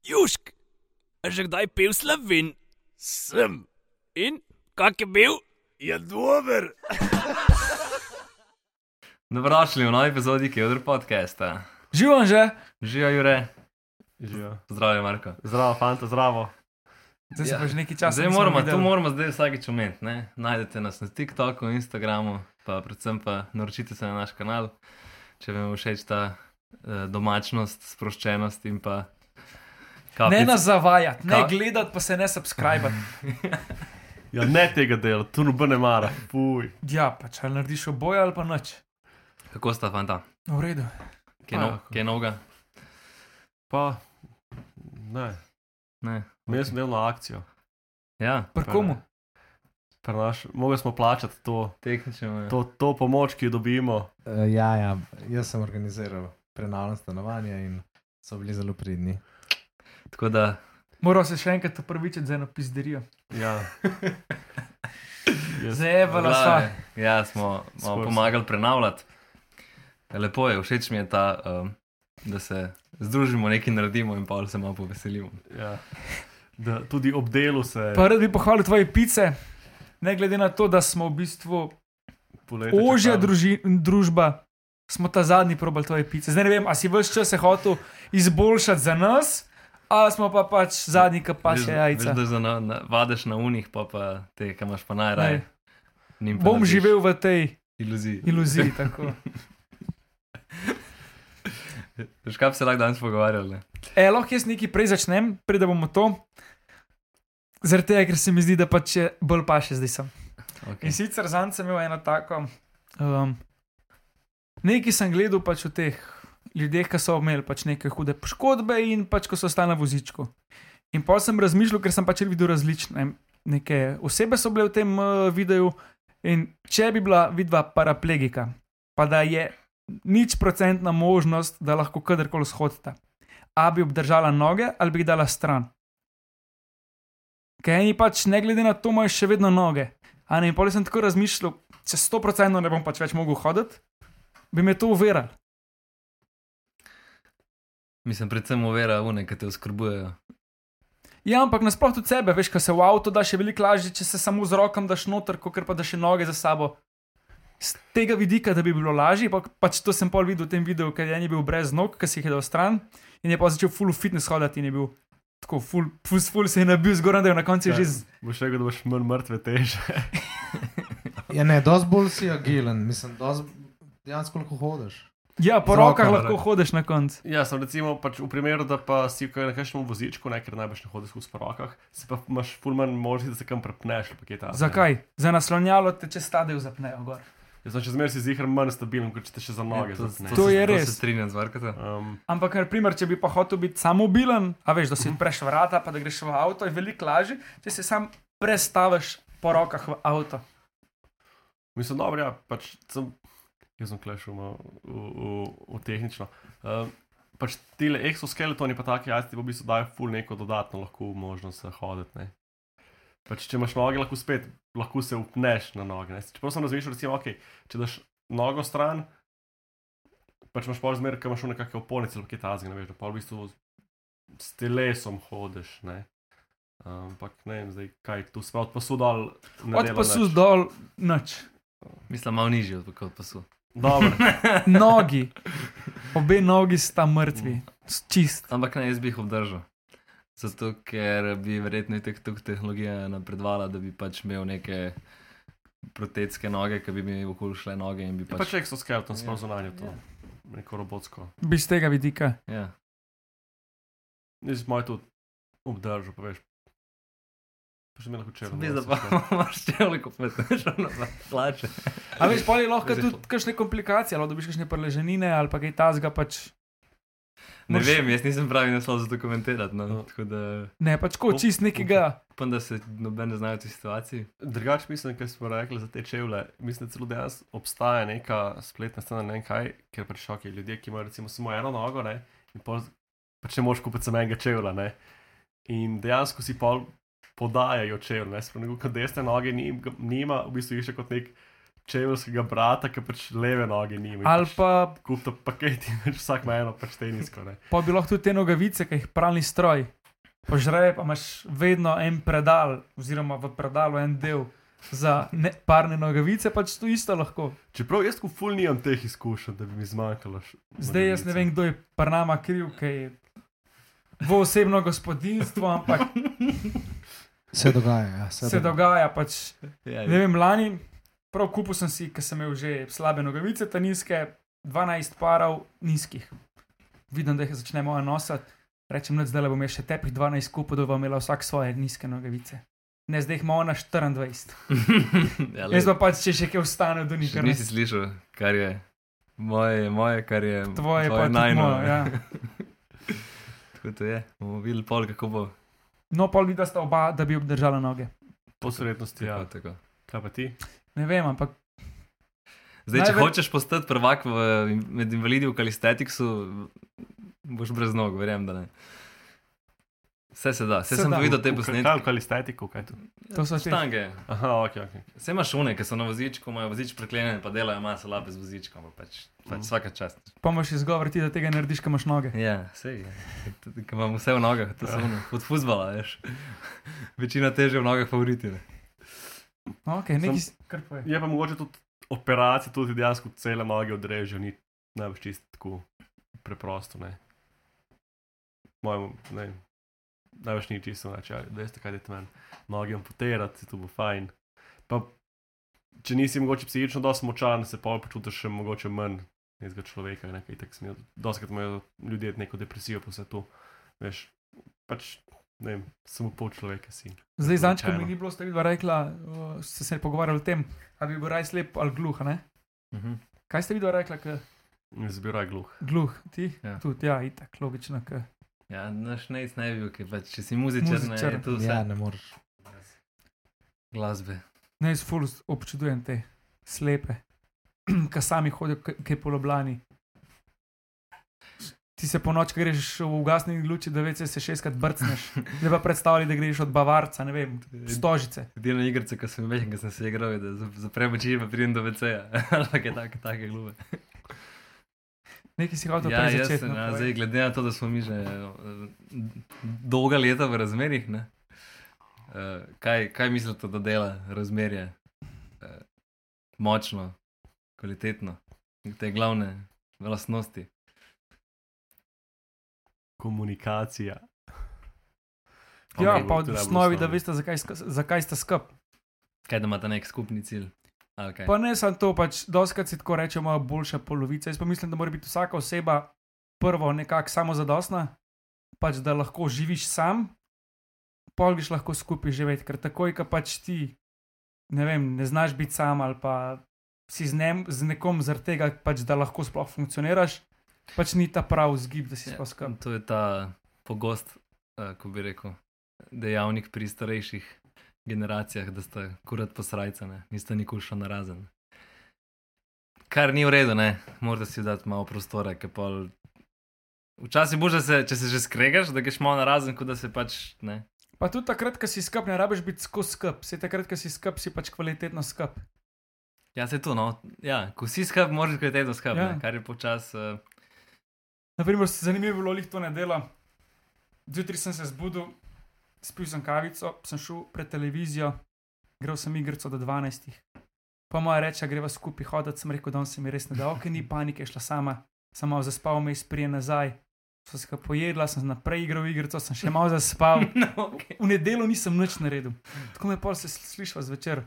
Južk, a že kdaj pil slovin? Sem, In kak je bil? je dober. Dobrodošli v novi epizodi Kevdr podcasta. Živan že. Živijo Jure, Živijo. zdravo Marko. Zdravo, fanta, zdravo. Zdaj se Ja. pa že nekaj časa. zdaj nismo moramo, videli. to moramo zdaj vsakič omeniti. ne. Najdete nas na TikToku, Instagramu, pa predvsem pa naročite se na naš kanal, če vam je všeč ta eh, domačnost, sproščenost in pa Ne kapljica. nas zavajati, ne Ka- gledati, pa se ne subskrbati. Ja, ne tega dela, tu noben ne mara. Puj. Ja, pač ali narediš oboje ali pa nič. No, Kako sta fanta? V redu. Kaj no- Ja. kaj novega? Pa, ne, Ne. imel sem delno akcijo. Ja, Pri komu? Prenaš, mogli smo plačati to, tehnično. to, to pomoč, ki jo dobimo. Uh, ja, ja, jaz sem organiziral prenavljanje stanovanja in so bili zelo pridni. Tako da Moral se še enkrat upravičiti za eno pizderijo. Ja. Jaz- Zevala Glave. sva. Ja, smo Skoro malo so. pomagali prenavljati. Lepo je, všeč mi je ta, um, da se združimo, nekaj naredimo in pa se malo poveselimo. Ja. Da, tudi ob delu se Pa rad bi pohvalil tvoje pice, ne glede na to, da smo v bistvu poleti. ožja druži, družba. Smo ta zadnji probal tvoje pice. Zdaj ne vem, ali si vse čas se hotel izboljšati za nas, ali smo pa pač zadnji, ki pa še jajca. Veš, da za na, na, vadeš na unih, pa, pa te, ki imaš pa najraje. Ne. njim pa Bom narediš živel v tej iluziji. iluziji. tako. Veš, kaj bi se lahko danes pogovarjali? E, lahko jaz nekaj prej začnem, preden bomo to. Zaradi tega, ker se mi zdi, da pač je bolj paše zdaj sem. Okay. In sicer zanj sem imel eno tako. Um, nekaj sem gledal pač o teh ljudeh, ki so imeli pač neke hude poškodbe in pač ko so stali na vozičku. In pa sem razmišljal, ker sem pač videl različne neke osebe, so bile v tem uh, videu. In če bi bila vidva paraplegika, pa da je nič procentna možnost, da lahko kadarkoli shodita, a bi obdržala noge ali bi jih dala stran. Ker eni pač ne glede na to imajo še vedno noge. A ne, in pol sem tako razmišljal, če 100% ne bom pač več mogel hoditi, bi me to uveralo. Mislim, predvsem uvera une, ki te oskrbujejo. Ja, ampak nasploh tudi sebe, veš, kaj se v avto da še veliko lažje, če se samo z rokom daš noter, kot pa da še noge za sabo. Z tega vidika, da bi bilo lažje, pa, pač to sem pol videl v tem videu, ker je en je bil brez nog, ki si jih je dal stran in je pa začel full fitness hoditi in je bil tako full, full, full se je nabil zgoraj, da je na koncu Ja. že z... Boš rekel, da boš manj mrtve teže. Ja, ne, dosti bolj si agilen, mislim, dosti dejansko lahko hodiš. Ja, po Z rokah rokom, lahko ne. hodiš na koncu. Ja, sem recimo pač v primeru, da pa si kaj na kakšnem vozičku, ne, ker najbrž ne hodiš v sporokah, si pa imaš fulman možnosti, da se kam prepneš. ali pa kaj takega. Zakaj? Za naslonjalo te čez stadev zapnejo gor. Jaz sem še zmeraj si zihar manj stabilen, kot če te še za noge to, zapneš. to je se, To res. se strinjam z varkata. Um, Ampak, na primer, če bi pa hotel biti samobilen, a veš, da Mhm. si odpreš vrata, pa da greš v avto, je veliko lažje, če se sam prestaviš po rokah v avto. mislim, dobro, ja, pač sem, jaz sem klešil v, v, v tehnično. Um, pač tele exoskeletoni pa taki jajci ti pa v bistvu dajo ful neko dodatno lahko možnost za hoditi. ne. Pač, če imaš noge, lahko spet, lahko se upneš na noge. Ne. Čeprav sem razmišljal, recimo, okay, če daš nogo stran, pač imaš pol zmer, ker imaš nekakšne oponice ali kaj tazga, ne veš, da pa v bistvu s telesom hodiš. Ne. Ehm, Ampak ne vem, zdaj, kaj tu smo od pasu dol. ne Od dela pasu nič. dol, noč, Mislim, malo nižje od- kot pasu. Dobro, nogi, obe nogi sta mrtvi, Mhm. S- čist. Ampak ne, jaz bi jih obdržal. Zato, ker bi verjetno itek tukaj tehnologija napredovala, da bi pač imel neke protetske noge, ki bi mi okoli šle noge in bi pač. pač, pač exoskeleton, Ja. sploh zunanje to, neko robotsko. Bi z tega vidika. Ja. Jaz moj tudi obdržal, pa veš. Pa še mi lahko črno. Mi zdaj pa imaš čevlje, ko petneš na plače. A veš, pol je lahko tudi kakšne komplikacije, ali dobiš kakšne preleženine ali pa kaj tazga pač. Ne Moraš- vem, jaz nisem pravi naslov za to komentirati. No. Ja. Tako da Ne, pač ko čist nekega. upam, da se noben ne znajo v tej situaciji. Drugač mislim, kar smo rekli za te čevlje. Mislim, da celo danes obstaja neka spletna stran, ne vem kaj, ker pač šok je ljudje, ki imajo recimo samo eno nogo, ne, in pol, pač ne moš kupiti samo enega čevlja, ne. In dejansko si pol podajajo čevlje, ne, spremeni, kot desne noge ni- nima, v bistvu išče kot nek čevelskega brata, ki pač leve noge nima. in Ali pač pa, Kupite paket in pač vsak ima eno, pač tenisko. Ne. pa bi lahko tudi te nogavice, ki jih pralni stroj požre, pa imaš vedno en predal, oziroma v predalu en del za ne, parne nogavice, pač to isto lahko. Čeprav jaz kot ful nimam teh izkušenj, da bi mi zmanjkalo. š- Zdaj jaz ne nogavice. vem, kdo je par nama kriv, kaj je v osebno gospodinstvo, ampak Se dogaja, ja, se, se dogaja pač. Ja, Ne vem, lani, prav kupil sem si, ker sem imel že slabe nogavice, ta nizke, 12 parov nizkih. Vidim, da jih začne moja nosati, rečem, da zdaj le bom jaz še tepih 12 kupil, da bo imela vsak svoje nizke nogavice. Ne, zdaj jih ima ona 24. ja, Jaz pa pač, če še kaj ostane do njih, Še ker nisi slišal, kar je moje, je moje kar je tvoje pa tudi najno, moje. ne. Ja. Tako to je, bomo videli pol, kako bo. No, pol videla sta oba, da bi obdržala noge. Po srednosti, ja. Tako, tako. Kaj pa ti? Ne vem, ampak Zdaj, če Najbolj- hočeš postati prvak v, med invalidi v kalistetiksu, boš brez nog, verjamem, da ne. Vse se da, vse Se sem da. videl te Kaj, posnetke. kaj estetiko, kaj tu? to so te. Štange. Aha, ok, ok. Vse imaš one, ki so na vozičku, imajo vozič preklenjen, pa delajo maso lape z vozičkom, pa pač, pač vsaka čast. Pomoš izgovor ti, da tega ne narediš, ker imaš noge. Ja, sej, ki imam vse v nogah, to so ono, od fuzbala, veš. Večina teže v nogah favoriti. Ja. Okay, nekaj, s- kar povej. Je pa mogoče tudi operacija, tudi dejansko cele noge odrežejo, ni največ čisto tako preprosto. Ne. Mojemu, ne, vem, največ ni čisto načelo, da veste, kaj je tam noge amputirati, si to bo fajn. Pa, če nisi mogoče psihično dosti močan, se pa počutiš še mogoče manj nekega človeka, nekaj tak smijo. Doskrat imajo ljudje neko depresijo po svetu, veš, pač ne vem, samo pol človeka si. Zdaj, zanč, ko mi Običajno. ni bilo, ste vidva rekla, uh, ste se pogovarjali o tem, ali bi bil raj slep ali gluh, a ne? Mhm. Kaj ste vidva rekla, k Zbiraj gluh. gluh, ti? Ja. Tudi, ja, itak, logično, k. Ja, naš najc ne bi bil, ker pač, če si muzičar, ne, Muzičar. no. je to vse Ja, ja. ne moreš. glasbe. Ne, jaz ful občudujem te slepe, ki sami hodijo k- kaj po loblani. Ti se po noč, ko greš v ugasni luči, da veš, se šestkrat brcneš. Ne pa predstavljaj, da greš od Bavarca, ne vem, stožice. Edina igrica, ki sem jo imel, ki sem se igral, je, da za- zaprem oči in pa pridem do VC-ja. Ampak je tako, take glube. Nekaj si hotel Ja, prej jaz začeti. sem, no, ja, povej. zdaj, glede na to, da smo mi že eh, dolga leta v razmerih, ne, eh, kaj, kaj mislite, da dela razmerje eh, močno, kvalitetno, te glavne lastnosti? Komunikacija. Ja, Okej, pa to v je najbolj osnovi, da osnovno. veste, zakaj, sk- zakaj ste skup. Kaj da imate nek skupni cilj? ali kaj? Pa ne samo to, pač doskrat si tako reče moja boljša polovica. Jaz pa mislim, da mora biti vsaka oseba prvo nekako samozadostna, pač da lahko živiš sam, pol greš lahko skupaj živeti, ker takoj, ko pač ti ne, vem, ne znaš biti sam ali pa si z, nem, z nekom zaradi tega, pač, da lahko sploh funkcioniraš, pač ni ta prav zgib, da si Ja, sploh skam. To je ta pogost, eh, ko bi rekel, dejavnik pri starejših generacijah, da ste kurat posrajcane, niste nikoli šli na razen. Kar ni v redu, ne? morate si dati malo prostora, ker pol. Včasih boš, da se, če se že skregaš, da greš malo na razen, kot da se pač ne. Pa tudi takrat, ko si skup, ne rabiš biti skozi skup, se takrat, ko si skup, si pač kvalitetno skup. Ja, se to, no. Ja, ko si skrb, moraš kvalitetno skrb, Ja. ja. kar je počasi. Uh, Naprimer, zanimivo je bilo jih to nedelo. Zjutraj sem se zbudil, spil sem kavico, sem šel pred televizijo, igral sem igrico do 12. Pa moja reče, greva skupaj hoditi, sem rekel, da se mi res ne da, ok, ni panike, je šla sama, sem malo zaspal, me izprije nazaj. So se ga pojedla, sem naprej igral igrico, sem še malo zaspal. no, okay. V nedeljo nisem nič naredil. Tako me pol se slišva zvečer.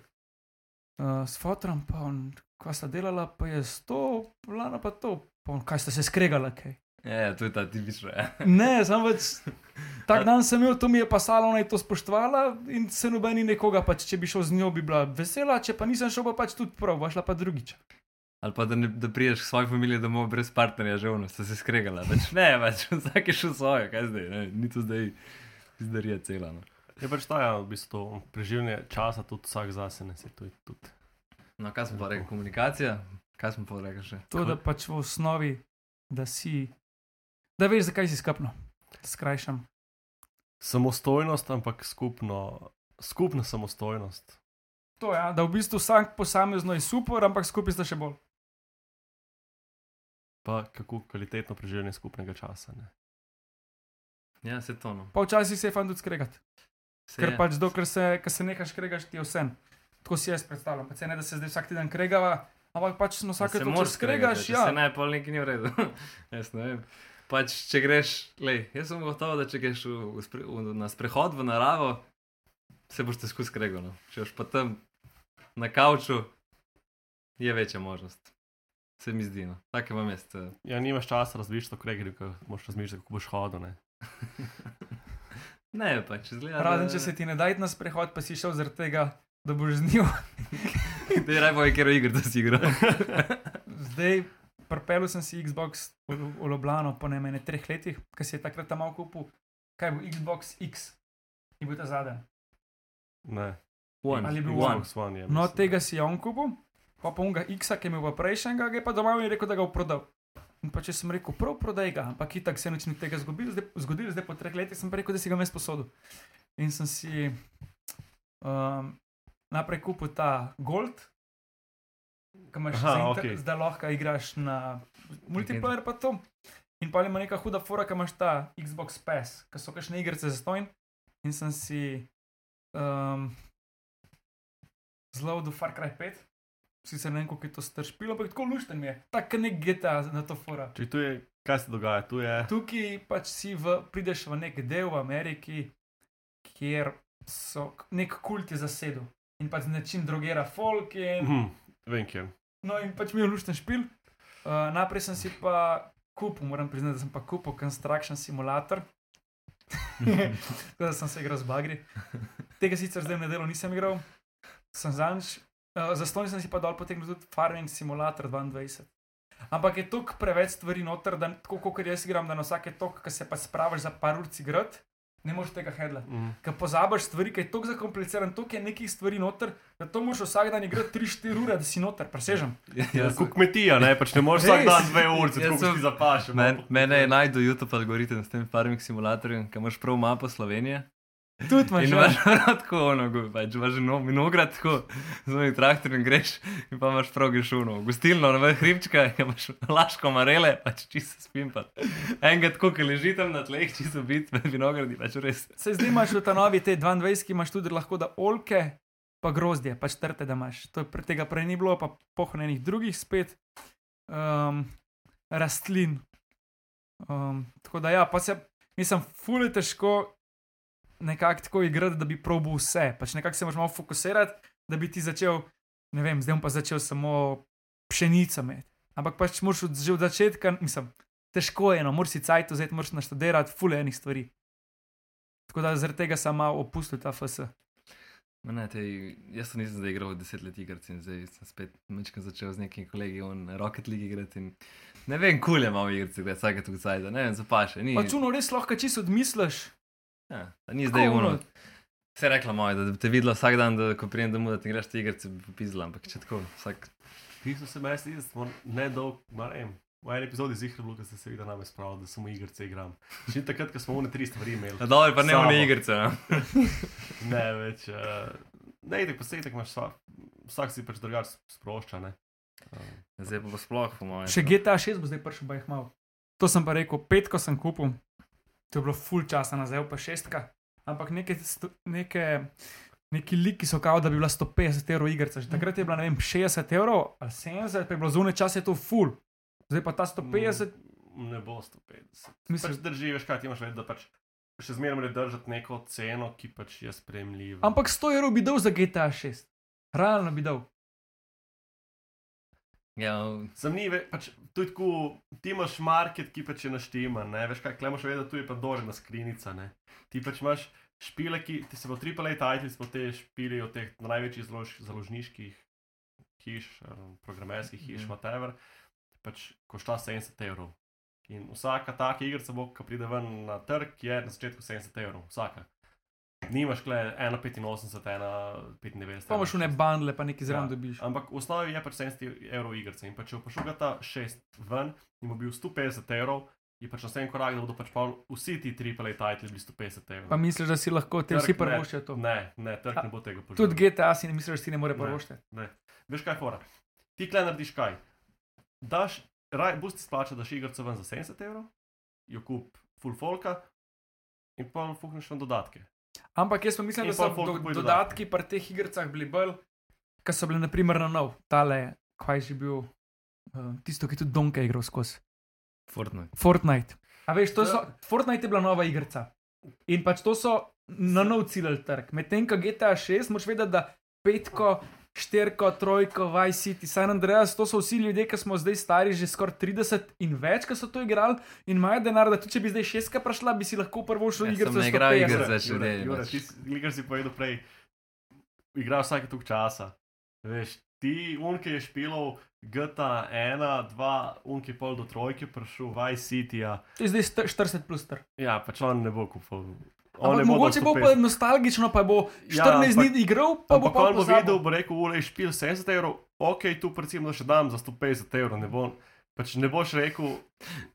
Uh, s fotom, pa on, kva sta delala, pa je sto, lana pa to. Pa on, kaj sta se skregala, kaj? Ja, to je ta tipična. Ja. Ne, samo več. Tak dan sem imel, to mi je pasalo, ona je to spoštovala in se nobeni nekoga, pač, če bi šel z njo, bi bila vesela, če pa nisem šel, pa pač tudi prav, bo šla pa drugič. Ali pa da, ne, da priješ k svoji familiji domov brez partnerja, že vno, ste se skregala. Več ne, več vsak je šel svoje, kaj zdaj, ne, ni to zdaj izdarija cela. No. Je pač ta, ja, v bistvu to preživljanje časa tudi vsak zase, ne se to je tudi. no, kaj smo pa rekli, komunikacija, kaj smo pa rekli še? To, da pač v osnovi, da si, da veš, zakaj si skapno. Skrajšam. Samostojnost, ampak skupno, skupna samostojnost. To je, ja, da v bistvu vsak posamezno je super, ampak skupaj sta še bolj. Pa kako kvalitetno preživljanje skupnega časa. Ne? Ja, se to no. Pa včasih se je fajn tudi skregati. Se Ker je. pač dokler se, ko se nehaš kregaš, ti je vse. Tako si jaz predstavljam. Pač se ne, da se zdaj vsak teden kregava, ampak pač no Ja, se vsake točke moraš skregati, skregaš. če Ja. Se ne, pol nekaj ni v redu. jaz ne vem. Pač, če greš, lej, jaz sem gotov, da če greš v, v, spre- v, na sprehod v naravo, se boš težko skregal. No. Če boš pa tam na kavču, je večja možnost. Se mi zdi, no. tako imam jaz. eh, Ja, nimaš časa razmišljati o kregri, ko moraš razmišljati, kako boš hodil. Ne? Ne, pač zgleda. Razen če se ti ne da iti na sprehod, pa si šel zaradi tega, da boš z njo. Ti raje boje, ker igr, da si igral. Zdaj, pripeljal sem si Xbox v Lu- v Ljubljano po ne meni treh letih, ker si je takrat tam malo kupil, kaj bo Xbox X. In bil ta zadnji. Ne, One. Ali je bil One. Xbox One je. No, mislim. tega si je on kupil, pa pa unga X-a, ki je imel pa prejšnjega, ga je pa doma in je rekel, da ga bo prodal. In pa če sem rekel, prav prodaj ga, ampak itak se nič ni tega zgodilo, zdaj, zgodilo, zdaj po treh letih sem pa rekel, da si ga mes posodil. In sem si um, najprej kupil ta Gold, ki imaš Aha, za inter, okej. okay. zdaj lahko igraš na multiplayer pa to. In pa ima neka huda fora, ki imaš ta Xbox Pass, ki so kakšne igrice za stojn. In sem si um, zelo do Far Cry 5, sicer ne vem, koliko je to stršpilo, ampak tako lušten mi je, tako nek GTA na to fora. Če tu je, kaj se dogaja, tu je. Tukaj pač si v, prideš v nek del v Ameriki, kjer so k- nek kult je zasedel in pač način drogira folk in Hm, vem, kje. No, in pač mi je lušten špil. Uh, najprej sem si pa kupil, moram priznati, da sem pa kupil Construction Simulator. Tako da sem se igral z bagri. Tega sicer zdaj v nedeljo nisem igral, sem zanč. Uh, Zastonj sem si pa dol potegnil tudi Farming Simulator 22. Ampak je toliko preveč stvari noter, da tako kot jaz igram, da na vsake tok, ki se pa spraviš za par ur cigrat, ne moreš tega hedla Mm. ki pozabiš stvari, ki je tako zakompliciran, toliko je nekih stvari noter, da to moraš vsak dan igrati 3-4 ure, da si noter, presežem. Ja, Jaz, kot kmetija, ne, pač ne moreš Res. vsak dan dve uri, Jaz tako kot sem- si zapaš. men, mene je najdel YouTube algoritem s tem farming simulatorjem, ki imaš prav mapo Slovenije. Tudi imaš In ja. imaš prav tako ono, go- pač imaš no, vinograd tako, z novim traktorjem greš in pa imaš prav greš uno. Gostilno, na vrh hribčka, ki imaš laško marele, pač čisto spimpa. Enega tako, ki leži tam na tleh, čisto bit, med vinogradi, pač res. Se zdaj imaš v ta novi, te 22, ki imaš tudi lahko da olke, pa grozdje, pač trte, da imaš. To je pre tega prej ni bilo, pa pohranjenih drugih spet um, rastlin. Um, tako da ja, pa se, mislim, fulje težko nekako tako igrati, da bi probil vse. Pač nekako se moraš malo fokusirati, da bi ti začel, ne vem, zdaj bom pa začel samo pšenico imeti. Ampak pač moraš od, že od začetka, mislim, težko je, no, moraš si cajt vzeti, moraš naštudirati, fulje enih stvari. Tako da zaradi tega sem malo opustil ta FS. Ma Ne, te, jaz to nisem zdaj igral deset let igric in zdaj sem spet mečkam začel z nekimi kolegi on Rocket League igrati in ne vem, kulje imamo igrice, gre vsake tukaj zajda, ne vem, zapaše, ni. Pač uno res lahko čisto odmisliš. Ja, da ni zdaj Tako, uno. ono. Se je rekla moja, da bi te videla vsak dan, da ko prijem domov, da ti greš te igrice, bi popizla, ampak če tako, vsak Ti so se meni zdeli, da smo nedolg, ne vem. V eni epizodi zihre bilo, da ste se vi da name spravili, da samo igrice igram. Še ni takrat, ko smo one tri stvari imeli. Ja, Dobro, pa ne Samo. one igrice. No? Ne več. Uh, ne, itek posebej, imaš vsak, vsak si pač drugače sprošča. Ne? Um, Zdaj pa bo sploh, po Ja, mojem. Še GTA 6 bo zdaj prišel, baj jih malo. To sem pa rekel, petko sem kupil, to je bilo full časa nazaj, pa šestka. Ampak neke, sto- neke, neki liki so kao, da bi bila 150 evrov igrica. Že takrat je bila, ne vem, 60 evrov ali 70, pa je bilo zunaj časa, je to full. Zdaj pa ta 150, Mm, Ne bo 150. Mislim- Pač drži, veš kaj, ti imaš vedeti, da pač še zmeraj moraš držati neko ceno, ki pač je sprejemljiva. ampak 100 evrov bi dal za GTA 6. Realno bi dal. Ja, Sem ni, ve, pač tudi tako, ti imaš market, ki pač je naštima, ne veš kaj, klemo še vedeti, da tu je Pandorina skrinjica, ne. Ti pač imaš špile, ki ti se bo AAA titles, pa te špili od teh največjih založ, založniških hiš, em, programerskih hiš, Mhm. mm. whatever, pač košta 70 evrov. In vsaka taka igrica, bo, ki pride ven na trg, je na začetku 70 evrov, vsaka. Nimaš kle 1,85, 1,95. Pa imaš v ne bandle, pa neki zraven Ja. dobiš. Ampak v pač, osnovi je pač 70 evrov igrice in pa če bo šel ta 6 ven in bo bil 150 evrov, je pač naslednji korak, da bodo pač pol vsi ti AAA titli bili 150 evrov. Pa misliš, da si lahko te Trg vsi ne- prvošče to. Ne, ne, trg ne bo tega počel. Tudi GTA si ne misliš, da si ne more Ne. prvošče. Veš kaj, fora. Ti kle narediš kaj? Daš, raj, boš ti splačal, daš igrico ven za 70 evrov, jo kup full folka in pa fukneš na dodatke. Ampak jaz pa mislim, In da pol so folk do, kupuj dodatki pri teh igricah bili bolj, ki so bili naprimer na nov, tale, kaj je že bil, uh, tisto, ki je tudi Donka igral skozi. Fortnite. Fortnite. A veš, to Ja. so, Fortnite je bila nova igrica. In pač to so na nov cilj trg. Medtem ko GTA 6, moš vedeti, da petko, šterko, trojko, Vice City, San Andreas, to so vsi ljudje, ki smo zdaj stari že skoraj 30 in več, ki so to igrali in imajo denar, da tudi če bi zdaj šestka prišla, bi si lahko prvo šel Ja, igrico sem ne za igral 150. iger Jure, za Jure, življenje, Jure, pač. ti si- Igor si povedal prej, igraš vsake toliko časa. Veš, ti unke je špilov GTA 1, 2, unke pol do trojke prišel, Vice City. -ja. To je zdaj st- 40 plus star. ja, pač on ne bo kupil. On Ampak ne dal mogoče bo 150. pa nostalgično, pa bo 14 ja, ampak- dni igral, pa bo Ampak pa on bo videl, bo rekel, ulej špil 70 evrov, ok, tu predvsem da še dam za 150 evrov, ne, bo, pač ne boš rekel,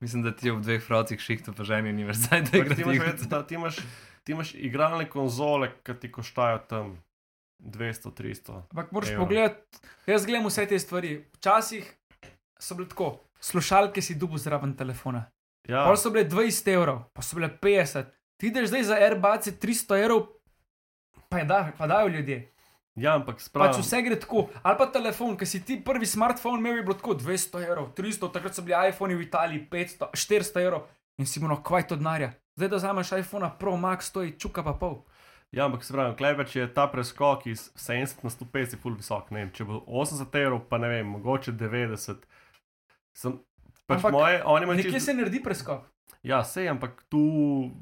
Mislim, da ti ob dveh frocih šihtu pa ženi univerzaj, da pač ti, imaš, igraš. več- da, ti, imaš, ti imaš igralne konzole, ki ti koštajo tam 200, 300. Ampak moraš Evo. pogledati, jaz gledam vse te stvari. Včasih so bile tako, slušalke si dubu zraven telefona. Ja, Pol so bile 20 evrov, pa so bile 50. Ti ideš zdaj za AirBuds 300 evrov, pa, je da, pa dajo ljudje. ja ampak Pač spravim. vse gre tako. Ali pa telefon, ki si ti prvi smartphone imel, je bilo tako 200 evrov, 300, takrat so bili iPhoni v Italiji 500, 400 evrov in si moral kvajt od denarja. Zdaj, da vzameš iPhone Pro Max, to je čuka pa pol. Ja, ampak se pravi, kleveč je ta preskok iz 70 na 150 je ful visok. Ne vem, če bo 80 evrov, pa ne vem, mogoče 90. Sem, Ampak pač ampak, moje, oni imajo Nekje čisto se naredi preskok. Ja, sej, ampak tu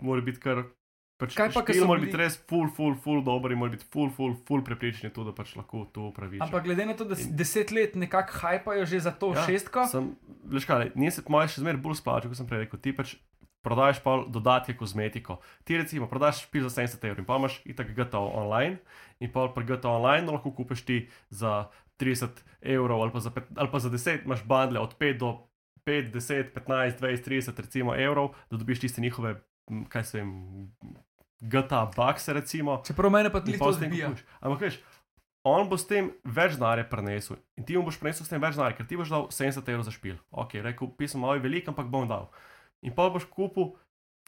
mora biti kar. Pač Kaj pa, ko špil so mora bili- biti res full, full, full dobro in mora biti full, full, full prepričan, da pač lahko to upraviči. Ampak glede na to, da si In- deset let nekako hajpajo že za to ja, šestko, Sem, veš kaj, njen se moj še zmeraj bolj splača, kot sem prej rekel. Ti pač prodajaš pa dodatke kozmetiko. Ti recimo prodaš špil za 70 evrov in pa imaš itak GTA online in pa pri GTA online no, lahko kupiš ti za 30 evrov ali pa za, pet, ali pa za 10, imaš bandle od 5 do 5, 10, 15, 20, 30 recimo evrov, da dobiš tiste njihove, m, kaj se vem, GTA bakse recimo. čeprav mene pa In tudi pol to s tem zbija. kupuješ. Ampak veš, on bo s tem več denarja prenesel in ti mu boš prenesel s tem več denarja, ker ti boš dal 70 evrov za špil. Ok, rekel, pisem malo je velik, ampak bom dal. In pa boš kupil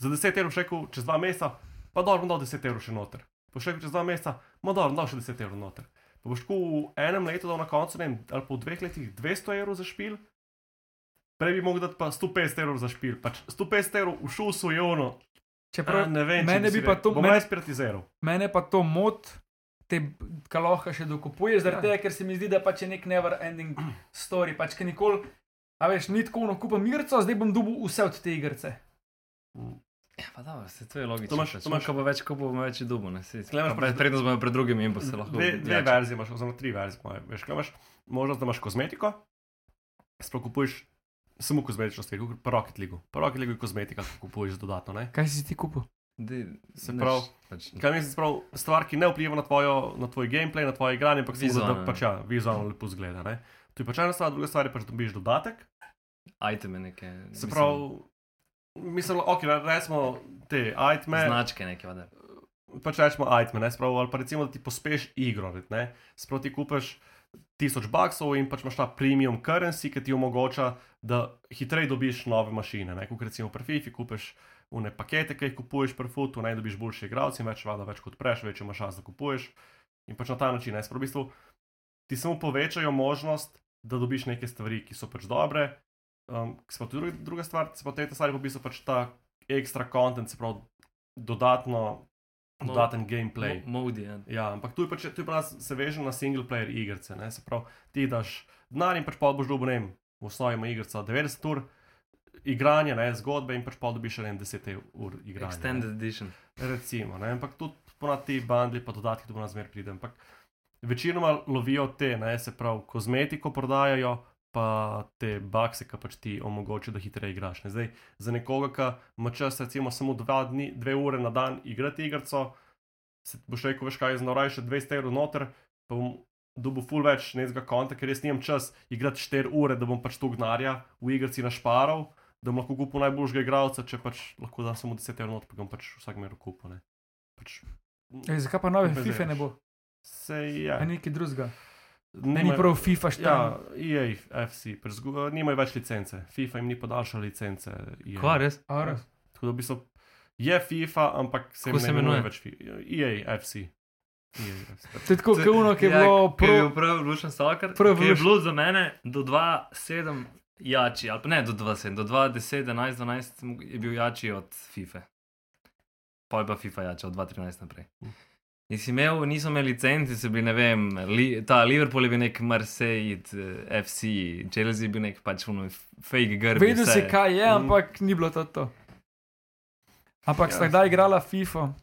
za 10 evrov, še rekel, čez dva meseca, pa dobro, bom dal 10 evrov še noter. Boš rekel, čez dva meseca, ma dobro, bom dal še 10 evrov noter. Pa boš tako v enem letu dal na koncu, ne vem, ali pa v dveh letih 200 evrov za špil. Prej bi mogel dati pa 150 evrov za špil, pač 150 evrov v šusu je ono. Čeprav ne vem, če mene si bi pa rekel. to- Bom mene- jaz piratiziral. Mene pa to mot, te kaloha še dokupuješ, zaradi Ja. tega, ker se mi zdi, da pač je nek never ending story. Pač, ker nikoli, a veš, ni tako, no kupam igrico, zdaj bom dobil vse od te igrice. Ja, pa dobro, se to je logično. To imaš- pač. to imaš- Ko bo več, ko bo več dubo, ne se. Tule imaš pa- Prednost bomo pred drugimi in pa se lahko. Dve, dve jača. verzije imaš, oziroma tri verzije. po moje. Veš, kaj imaš možnost, da imaš kozmetiko, sploh kupuješ samo kozmetično stvar, kot pri Rocket League. Po Rocket League kozmetika kupuješ dodatno. Ne? Kaj si ti kupil? Dej, Se nič, pravi, pač, Kaj mislim, sprav, stvar, ki ne vpliva na, tvojo, na tvoj gameplay, na tvoje igranje, ampak samo da- Vizualno, da ne. pač, ja, vizualno lepo zgleda. Ne? To je pač ena stvar, druga stvar je pač, da dobiš dodatek. iteme neke. Se mislim, pravi, mislim, ok, recimo te itme. Značke neke, vada. pač rečemo item, ne spravo, ali pa recimo, da ti pospeš igro, ne, spravo ti kupiš 1000 baksov in pač imaš ta premium currency, ki ti omogoča, da hitreje dobiš nove mašine, ne, kot recimo pri FIFA, kupiš une pakete, ki jih kupuješ pri futu, ne, dobiš boljše igralce in več vada, več kot preš, več imaš čas, da kupuješ in pač na ta način, ne, spravo v bistvu ti samo povečajo možnost, da dobiš neke stvari, ki so pač dobre, um, spravo druga, druga stvar, spravo te stvari pa v bistvu pač ta ekstra content, spravo dodatno No, dodaten gameplay. Mo- Modi, ja. Ja, ampak tu je pač, tu je pa nas se veže na single player igrice. Ne? Se pravi, ti daš denar in pač pa boš dobil, ne vem, v osnovi ima igrica 90 ur igranja, ne zgodbe in pač pa dobiš še ne vem, 10 ur igranja. ne. Extended edition. Recimo, ne? ampak tudi ponad ti bandli, pa dodatki tu nas zmer pride. Ampak večinoma lovijo te, ne? se pravi, kozmetiko prodajajo, pa te bakse, ki pač ti omogočajo, da hitreje igraš. Ne? Zdaj, za nekoga, ki ima čas, recimo, samo dva dni, dve ure na dan igrati igrico, se boš rekel, veš kaj, znoraj še 200 evrov noter, pa bom dobil ful več nezga konta, ker res nimam čas igrati 4 ure, da bom pač to gnarja v igrici našparal, da bom lahko kupil najboljšega igralca, če pač lahko da samo 10 evrov, not, pa ga bom pač vsak mer kupil. ne. Pač, Ej, zakaj pa nove Kupaj FIFA ne zdaj. bo, se je. E, a nekaj drugega? Ne, Ni prav FIFA Ja, 4. EA, FC, prezgu- e, nimajo več licence, FIFA jim ni podaljšala licence. EA. Kva, res? Ja. Tako da v bistvu je FIFA, ampak se Kako jim se ne imenuje? imenuje več E FIFA. EA, FC. EA, FC. To je tako, kot ono, ja, ki je Ja, bilo Pro pro. Evolution Soccer, Pro ki je Evolution. bilo za mene do 2-7 jači, ali pa ne do 2-7, do 2-10, 11-12 mo- je bil jači od FIFA. Pa je pa FIFA jača od 2-13 naprej. In si imel, niso imeli licenci, so bili, ne vem, li, ta Liverpool je bil nek Marseille, eh, FC, Chelsea je bil nek pač ono fake grb. Vedel si, kaj Mhm. je, ampak ni bilo to. to. Ampak Ja. sta kdaj igrala FIFA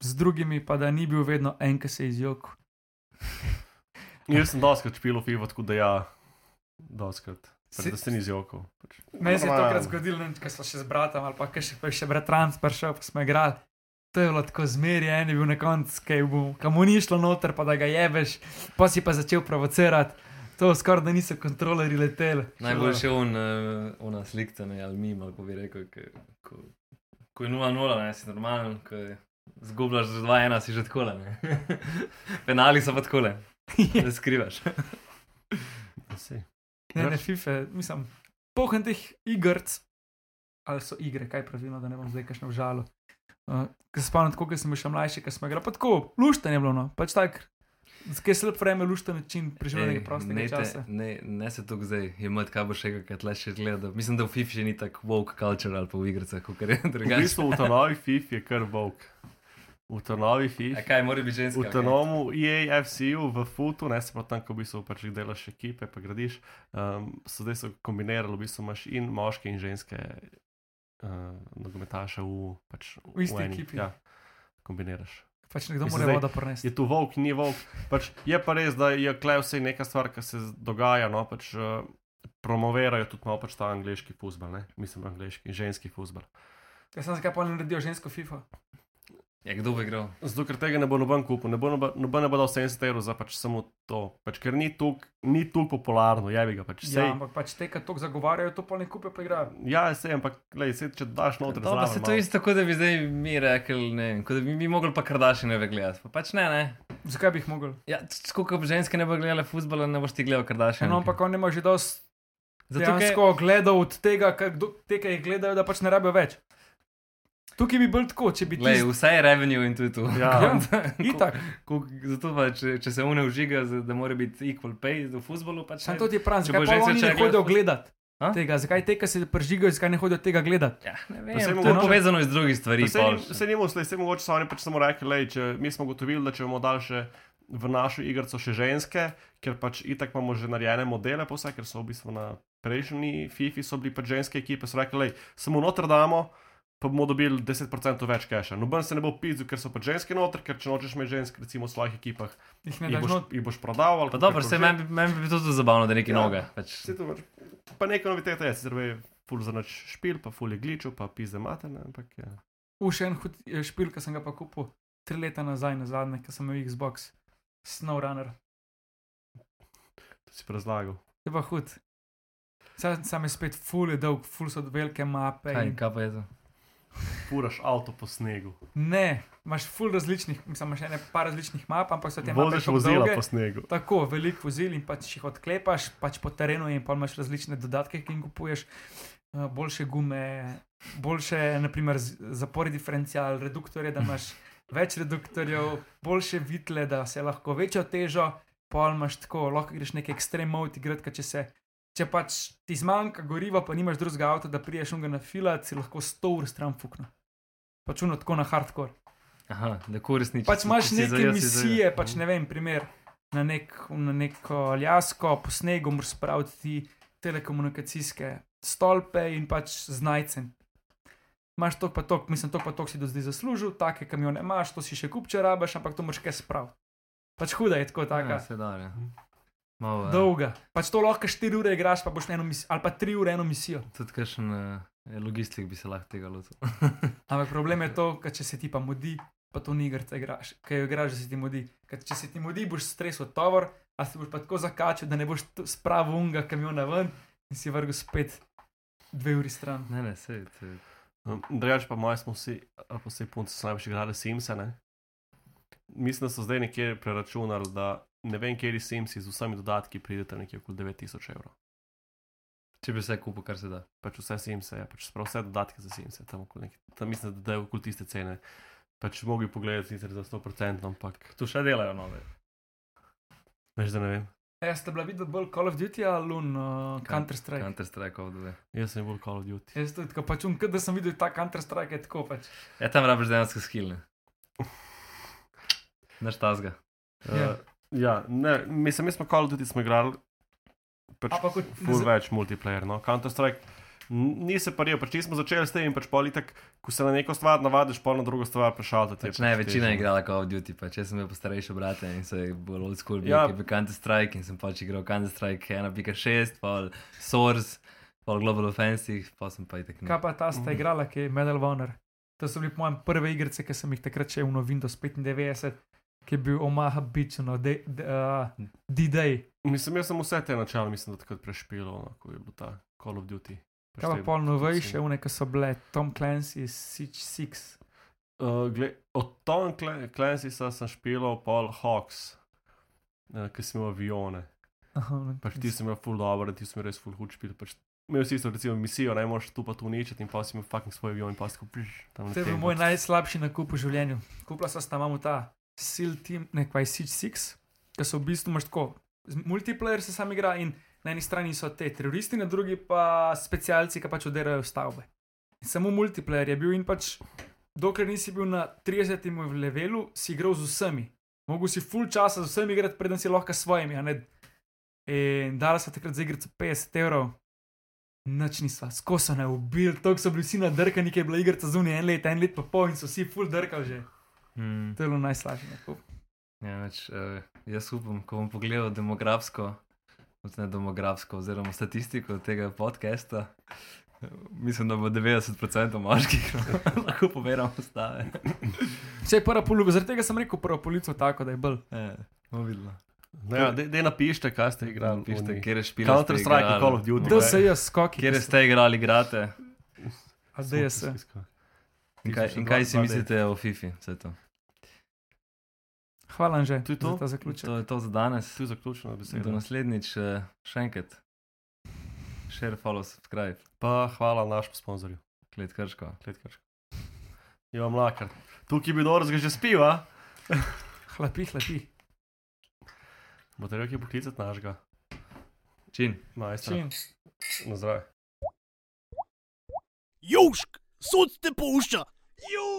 z drugimi, pa da ni bil vedno en, ki se je izjokal. Jaz sem doskrat špil FIFA, tako da ja, doskrat. Pač, Si- da se ni zjokal. Pač. Meni se je Normalno. tokrat zgodilo, ne, ko smo še z bratom ali pa ko še, ko je še bratranc prišel, pa smo igrali. To je bilo tako zmeraj, en je bil na koncu, ki je bil- ki mu ni šlo noter, pa da ga jebeš, pa si pa začel provocirati. To skoraj da niso kontrolerji leteli. Najboljši je on, eh, ona slika, ne ali mi, kako bi rekel. Ko, ko, ko je 0-0, ne si normalen, ko je zgubljaš že 2-1, si že tako le. Penali so pa tako le, ne skrivaš. Ja, saj. Ne, ne, FIFA, mislim, pohen teh igrc, ali so igre, kaj pravilno, da ne bom zdaj kašno žalo. Uh, Ker se spomnim, tako, ko sem bil še mlajši, ko smo igrali, pa tako, luštan je bilo, no, pač tak. Zakaj slab vreme, luštan način preživljanja Ej, prostega ne, Ej, te- časa. ne, ne se tukaj zdaj imeti, kaj bo še enkrat, kaj tle še gleda. Mislim, da v FIFA še ni tako woke culture ali pa v igricah, kot je V drugače. bistvu v Tanovi FIFA je kar volk. V Tanovi A FIFA. kaj mora biti ženska? V Tanomu, EAFC-u, v Futu, ne se pa tam, ko v bistvu pač delaš ekipe, pa gradiš. Um, so zdaj so kombinirali, v bistvu imaš in moške in ženske uh, nogometaše v, pač, V isti eni. ekipi. Ja, kombiniraš. Pač nekdo Mislim, mora zdaj vodo Je prenesti. tu volk, ni volk. Pač je pa res, da je klej vse neka stvar, ki se z- dogaja. No, pač, eh, promovirajo tudi malo pač ta angliški fusbal, mislim, angliški, ženski fusbal. Jaz sem zakaj pa ne naredil žensko FIFA. Ja, kdo bo igral? Zato, ker tega ne bo noben kupil, ne bo noben, noben ne bo dal 70 evrov za pač samo to, pač, ker ni tuk, ni tuk popularno, je bi ga Ja, pač. Sej, ampak pač te, ki to zagovarjajo, to pa ne kupijo, pa igrajo. ja, ja sej, ampak lej, sej, če daš noter, Dobro, zraven se to je malo. isto, kot da bi zdaj mi rekli, ne vem, kot da bi mi mogli pa kardašine gledati. Pa pač ne, ne. Zakaj bi jih mogli? Ja, tako kot ženske ne bo gledale futbola, ne boš ti gledal, kar Ja, daš. No, ampak oni imajo že dosti zato je dejansko ogledov od tega, kar kdo- te, ki jih gledajo, da pač ne rabijo več. Tukaj bi bil tako, če bi ti gledal. Vse je revenue in tu je tu. Ja, Itak, Ko- Zato pa, če, če se une užiga, za- da mora biti equal pay v futbolu, pač sem to ti pravi, Če zakaj bo pa ženska oni ne začela hodijo gledati- gledat A? tega, zakaj te, ki se pržigajo, zakaj ne hodijo tega gledat. Ja, ne vem, Pa to je saj mogoče- povezano iz drugih stvari. Vse pol. ni- Vse ni mogoče, vse mogoče so oni pač samo rekli, lej, če mi smo gotovili, da če bomo dali še v našo igrico še ženske, ker pač itak imamo že narejene modele, pa vse, ker so v bistvu na prejšnji FIFA so bili pač ženske ekipe, so rekli, lej, samo noter damo. Pa bomo dobili 10% več keša. Noben se ne bo pizzil, ker so pa ženske noter, ker če nočeš imeti žensk, recimo v svojih ekipah, Jih ne jih daš boš, not. jih boš prodal. ali no- Pa dobro, kakorkoli se že. meni bi- meni bi to tudi zabavno, da neki Ja. ja. noge. Pač. Saj to pač- Pa nekaj novitete je, sicer je ful za noč špil, pa ful je gličil, pa pizde materna, ampak ja. Uš en hud eh, špil, ki sem ga pa kupil tri leta nazaj, na zadnje, ki sem imel Xbox, SnowRunner. To si razlagal. Je pa hud. Sam, sam je spet full je dolg, full so velike mape. Kaj, in- kaj pa je to? Furaš avto po snegu. Ne, imaš full različnih, mislim, imaš ene par različnih map, ampak so te mape Voziš tako vozila dolge, po snegu. Tako, veliko vozil in pač jih odklepaš, pač po terenu in pa imaš različne dodatke, ki jih kupuješ, eh, boljše gume, boljše, naprimer, z- zapore diferencial, reduktorje, da imaš več reduktorjev, boljše vitle, da se lahko večjo težo, pol imaš tako, lahko greš neke ekstremne avto igrati, če se. Če pač ti zmanjka goriva, pa nimaš drugega avta, da priješ unga na fila, si lahko 100 ur stran fukno. Pač uno tako na hardcore. Aha, da korisni. Pač imaš neke ja, misije, pač ne vem, primer, na, nek, na neko aljasko, po snegu moraš spraviti telekomunikacijske stolpe in pač znajcen. Imaš to pa to, mislim, to pa to si do zdaj zaslužil, take kamione imaš, to si še kup če rabaš, ampak to moraš kaj spraviti. Pač huda je tako, Taka. Ja, taka, se da, ja. Malo, eh, dolga. Pač to lahko 4 ure igraš, pa boš eno misijo, ali pa 3 ure eno misijo. Tudi kakšen eh, logistik bi se lahko tega lotil. Ampak problem je to, ker če se ti pa mudi, pa to ni igrca igraš, ker jo igraš, da se ti mudi. Ker če se ti mudi, boš stresel tovor, a se boš pa tako zakačil, da ne boš tu spravil unga kamiona ven in si vrgel spet dve uri stran. Ne, ne, sej. sej. Um, Drugač pa moji smo vsi, ali pa vsi punci so največ igrali Simse. Ne? Mislim, da so zdaj nekje preračunali, da ne vem, kje Simsi z vsemi dodatki pridete nekje okoli 9000 evrov. Če bi vse kupil, kar se da. Pač vse Simse, ja, pač prav vse dodatke za Simse, tam, okoli nekje, tam mislim, da je okoli tiste cene. Pač mogli pogledati sicer za 100%, ampak Tu še delajo nove. veš, da ne vem. E, ste bila videla bolj Call of Duty ali Lun, uh, Counter-Strike? Counter Strike ovdve. Jaz sem bolj Call of Duty. Jaz tudi, tako pač um, da sem videl ta Counter-Strike, je tako pač. Ja, tam rabiš dejansko skilne. Naš tasga. Ja. Uh, ja, ne, mislim, mi smo Call of Duty smo igrali. Pač A pa kot- Ful ne- več multiplayer, no. Counter-Strike n- ni se paril, pač nismo začeli s tem in pač politek, ko se na neko stvar navadiš, pa na drugo stvar prešalta. Pač ne, večina je igrala Call of Duty, pač jaz sem bil postarejši brat in se je bolj old school, bil, Ja. ja. bil Counter Strike in sem pač igral Counter Strike 1.6, pa Source, pa Global Offensive, pa sem pa itek. Kaj pa ta sta Mhm. igrala, ki je Medal of Honor? To so bili po mojem prve igrice, ki sem jih takrat še imel Windows 95, ki je bil Omaha Beach, no, de- de- uh, D-Day. Mislim, jaz sem vse te načela, mislim, da takrat prešpilo, no, ko je bil ta Call of Duty. Kaj pa Pač te- pol novejše, recimo. une, ki so bile é Tom Clancy, Siege 6. Uh, gle, od Tom Clan- Clancysa sem špilal pol Hawks, uh, ki sem imel avione. Aha, no, Pač ti si imel full dobro, ti si imel res full hud špil. Pač, imel si isto, recimo, misijo, ne moš tu pa tu uničiti in pa si imel fucking svoj avion in pa si kupiš tam no. To je bil moj najslabši nakup v življenju. Kupila sem tam imamo ta Seal Team, ne kaj Siege 6, ki so v bistvu imaš tako, z- multiplayer se sam igra in na eni strani so te teroristi, na drugi pa specialci, ki pač oderajo stavbe. In samo multiplayer je bil in pač, dokler nisi bil na 30. levelu, si igral z vsemi. Mogel si full časa z vsemi igrati, preden si lahko s svojimi. a ne. In dala sta takrat za igrico 50 evrov. Noč nisva, skozi so ne ubili, tako so bili vsi nadrkani, ki je bila igrica zunaj en let, en let pa pol in so vsi full drkali že. Mm. To je bilo najslabše. nakup. Ja, več, uh, jaz upam, ko bom pogledal demografsko, ne demografsko, oziroma statistiko tega podcasta, eh, mislim, da bo 90% moških, lahko poberamo stave. Vse je prva polovica, zaradi tega sem rekel prvo polovico tako, da je bil. Ja, no, bomo videli. Ja, dej, dej napište, kaj ste igrali. Pišite, oni. kjer je špil. Counter-Strike in Call of Duty. Kdo se je skoki? Kjer ste igrali, igrate. A zdaj se. In kaj, in kaj si mislite o FIFA? Vse To. Hvala Anže, To je to? za ta zaključek. to je to za danes. Tu je zaključena Do beseda. naslednjič, eh, še enkrat. Share, follow, subscribe, Pa hvala našemu sponzorju, klet krško. Kletkačka. Jo, mlakar. Tukaj bi dobro zgaže spiva. Hlapi, hlapi. Bo treba kaj poklicati našega Čin. majstra. Čim. Na zdravje. Južk, sod te pušča. Južk.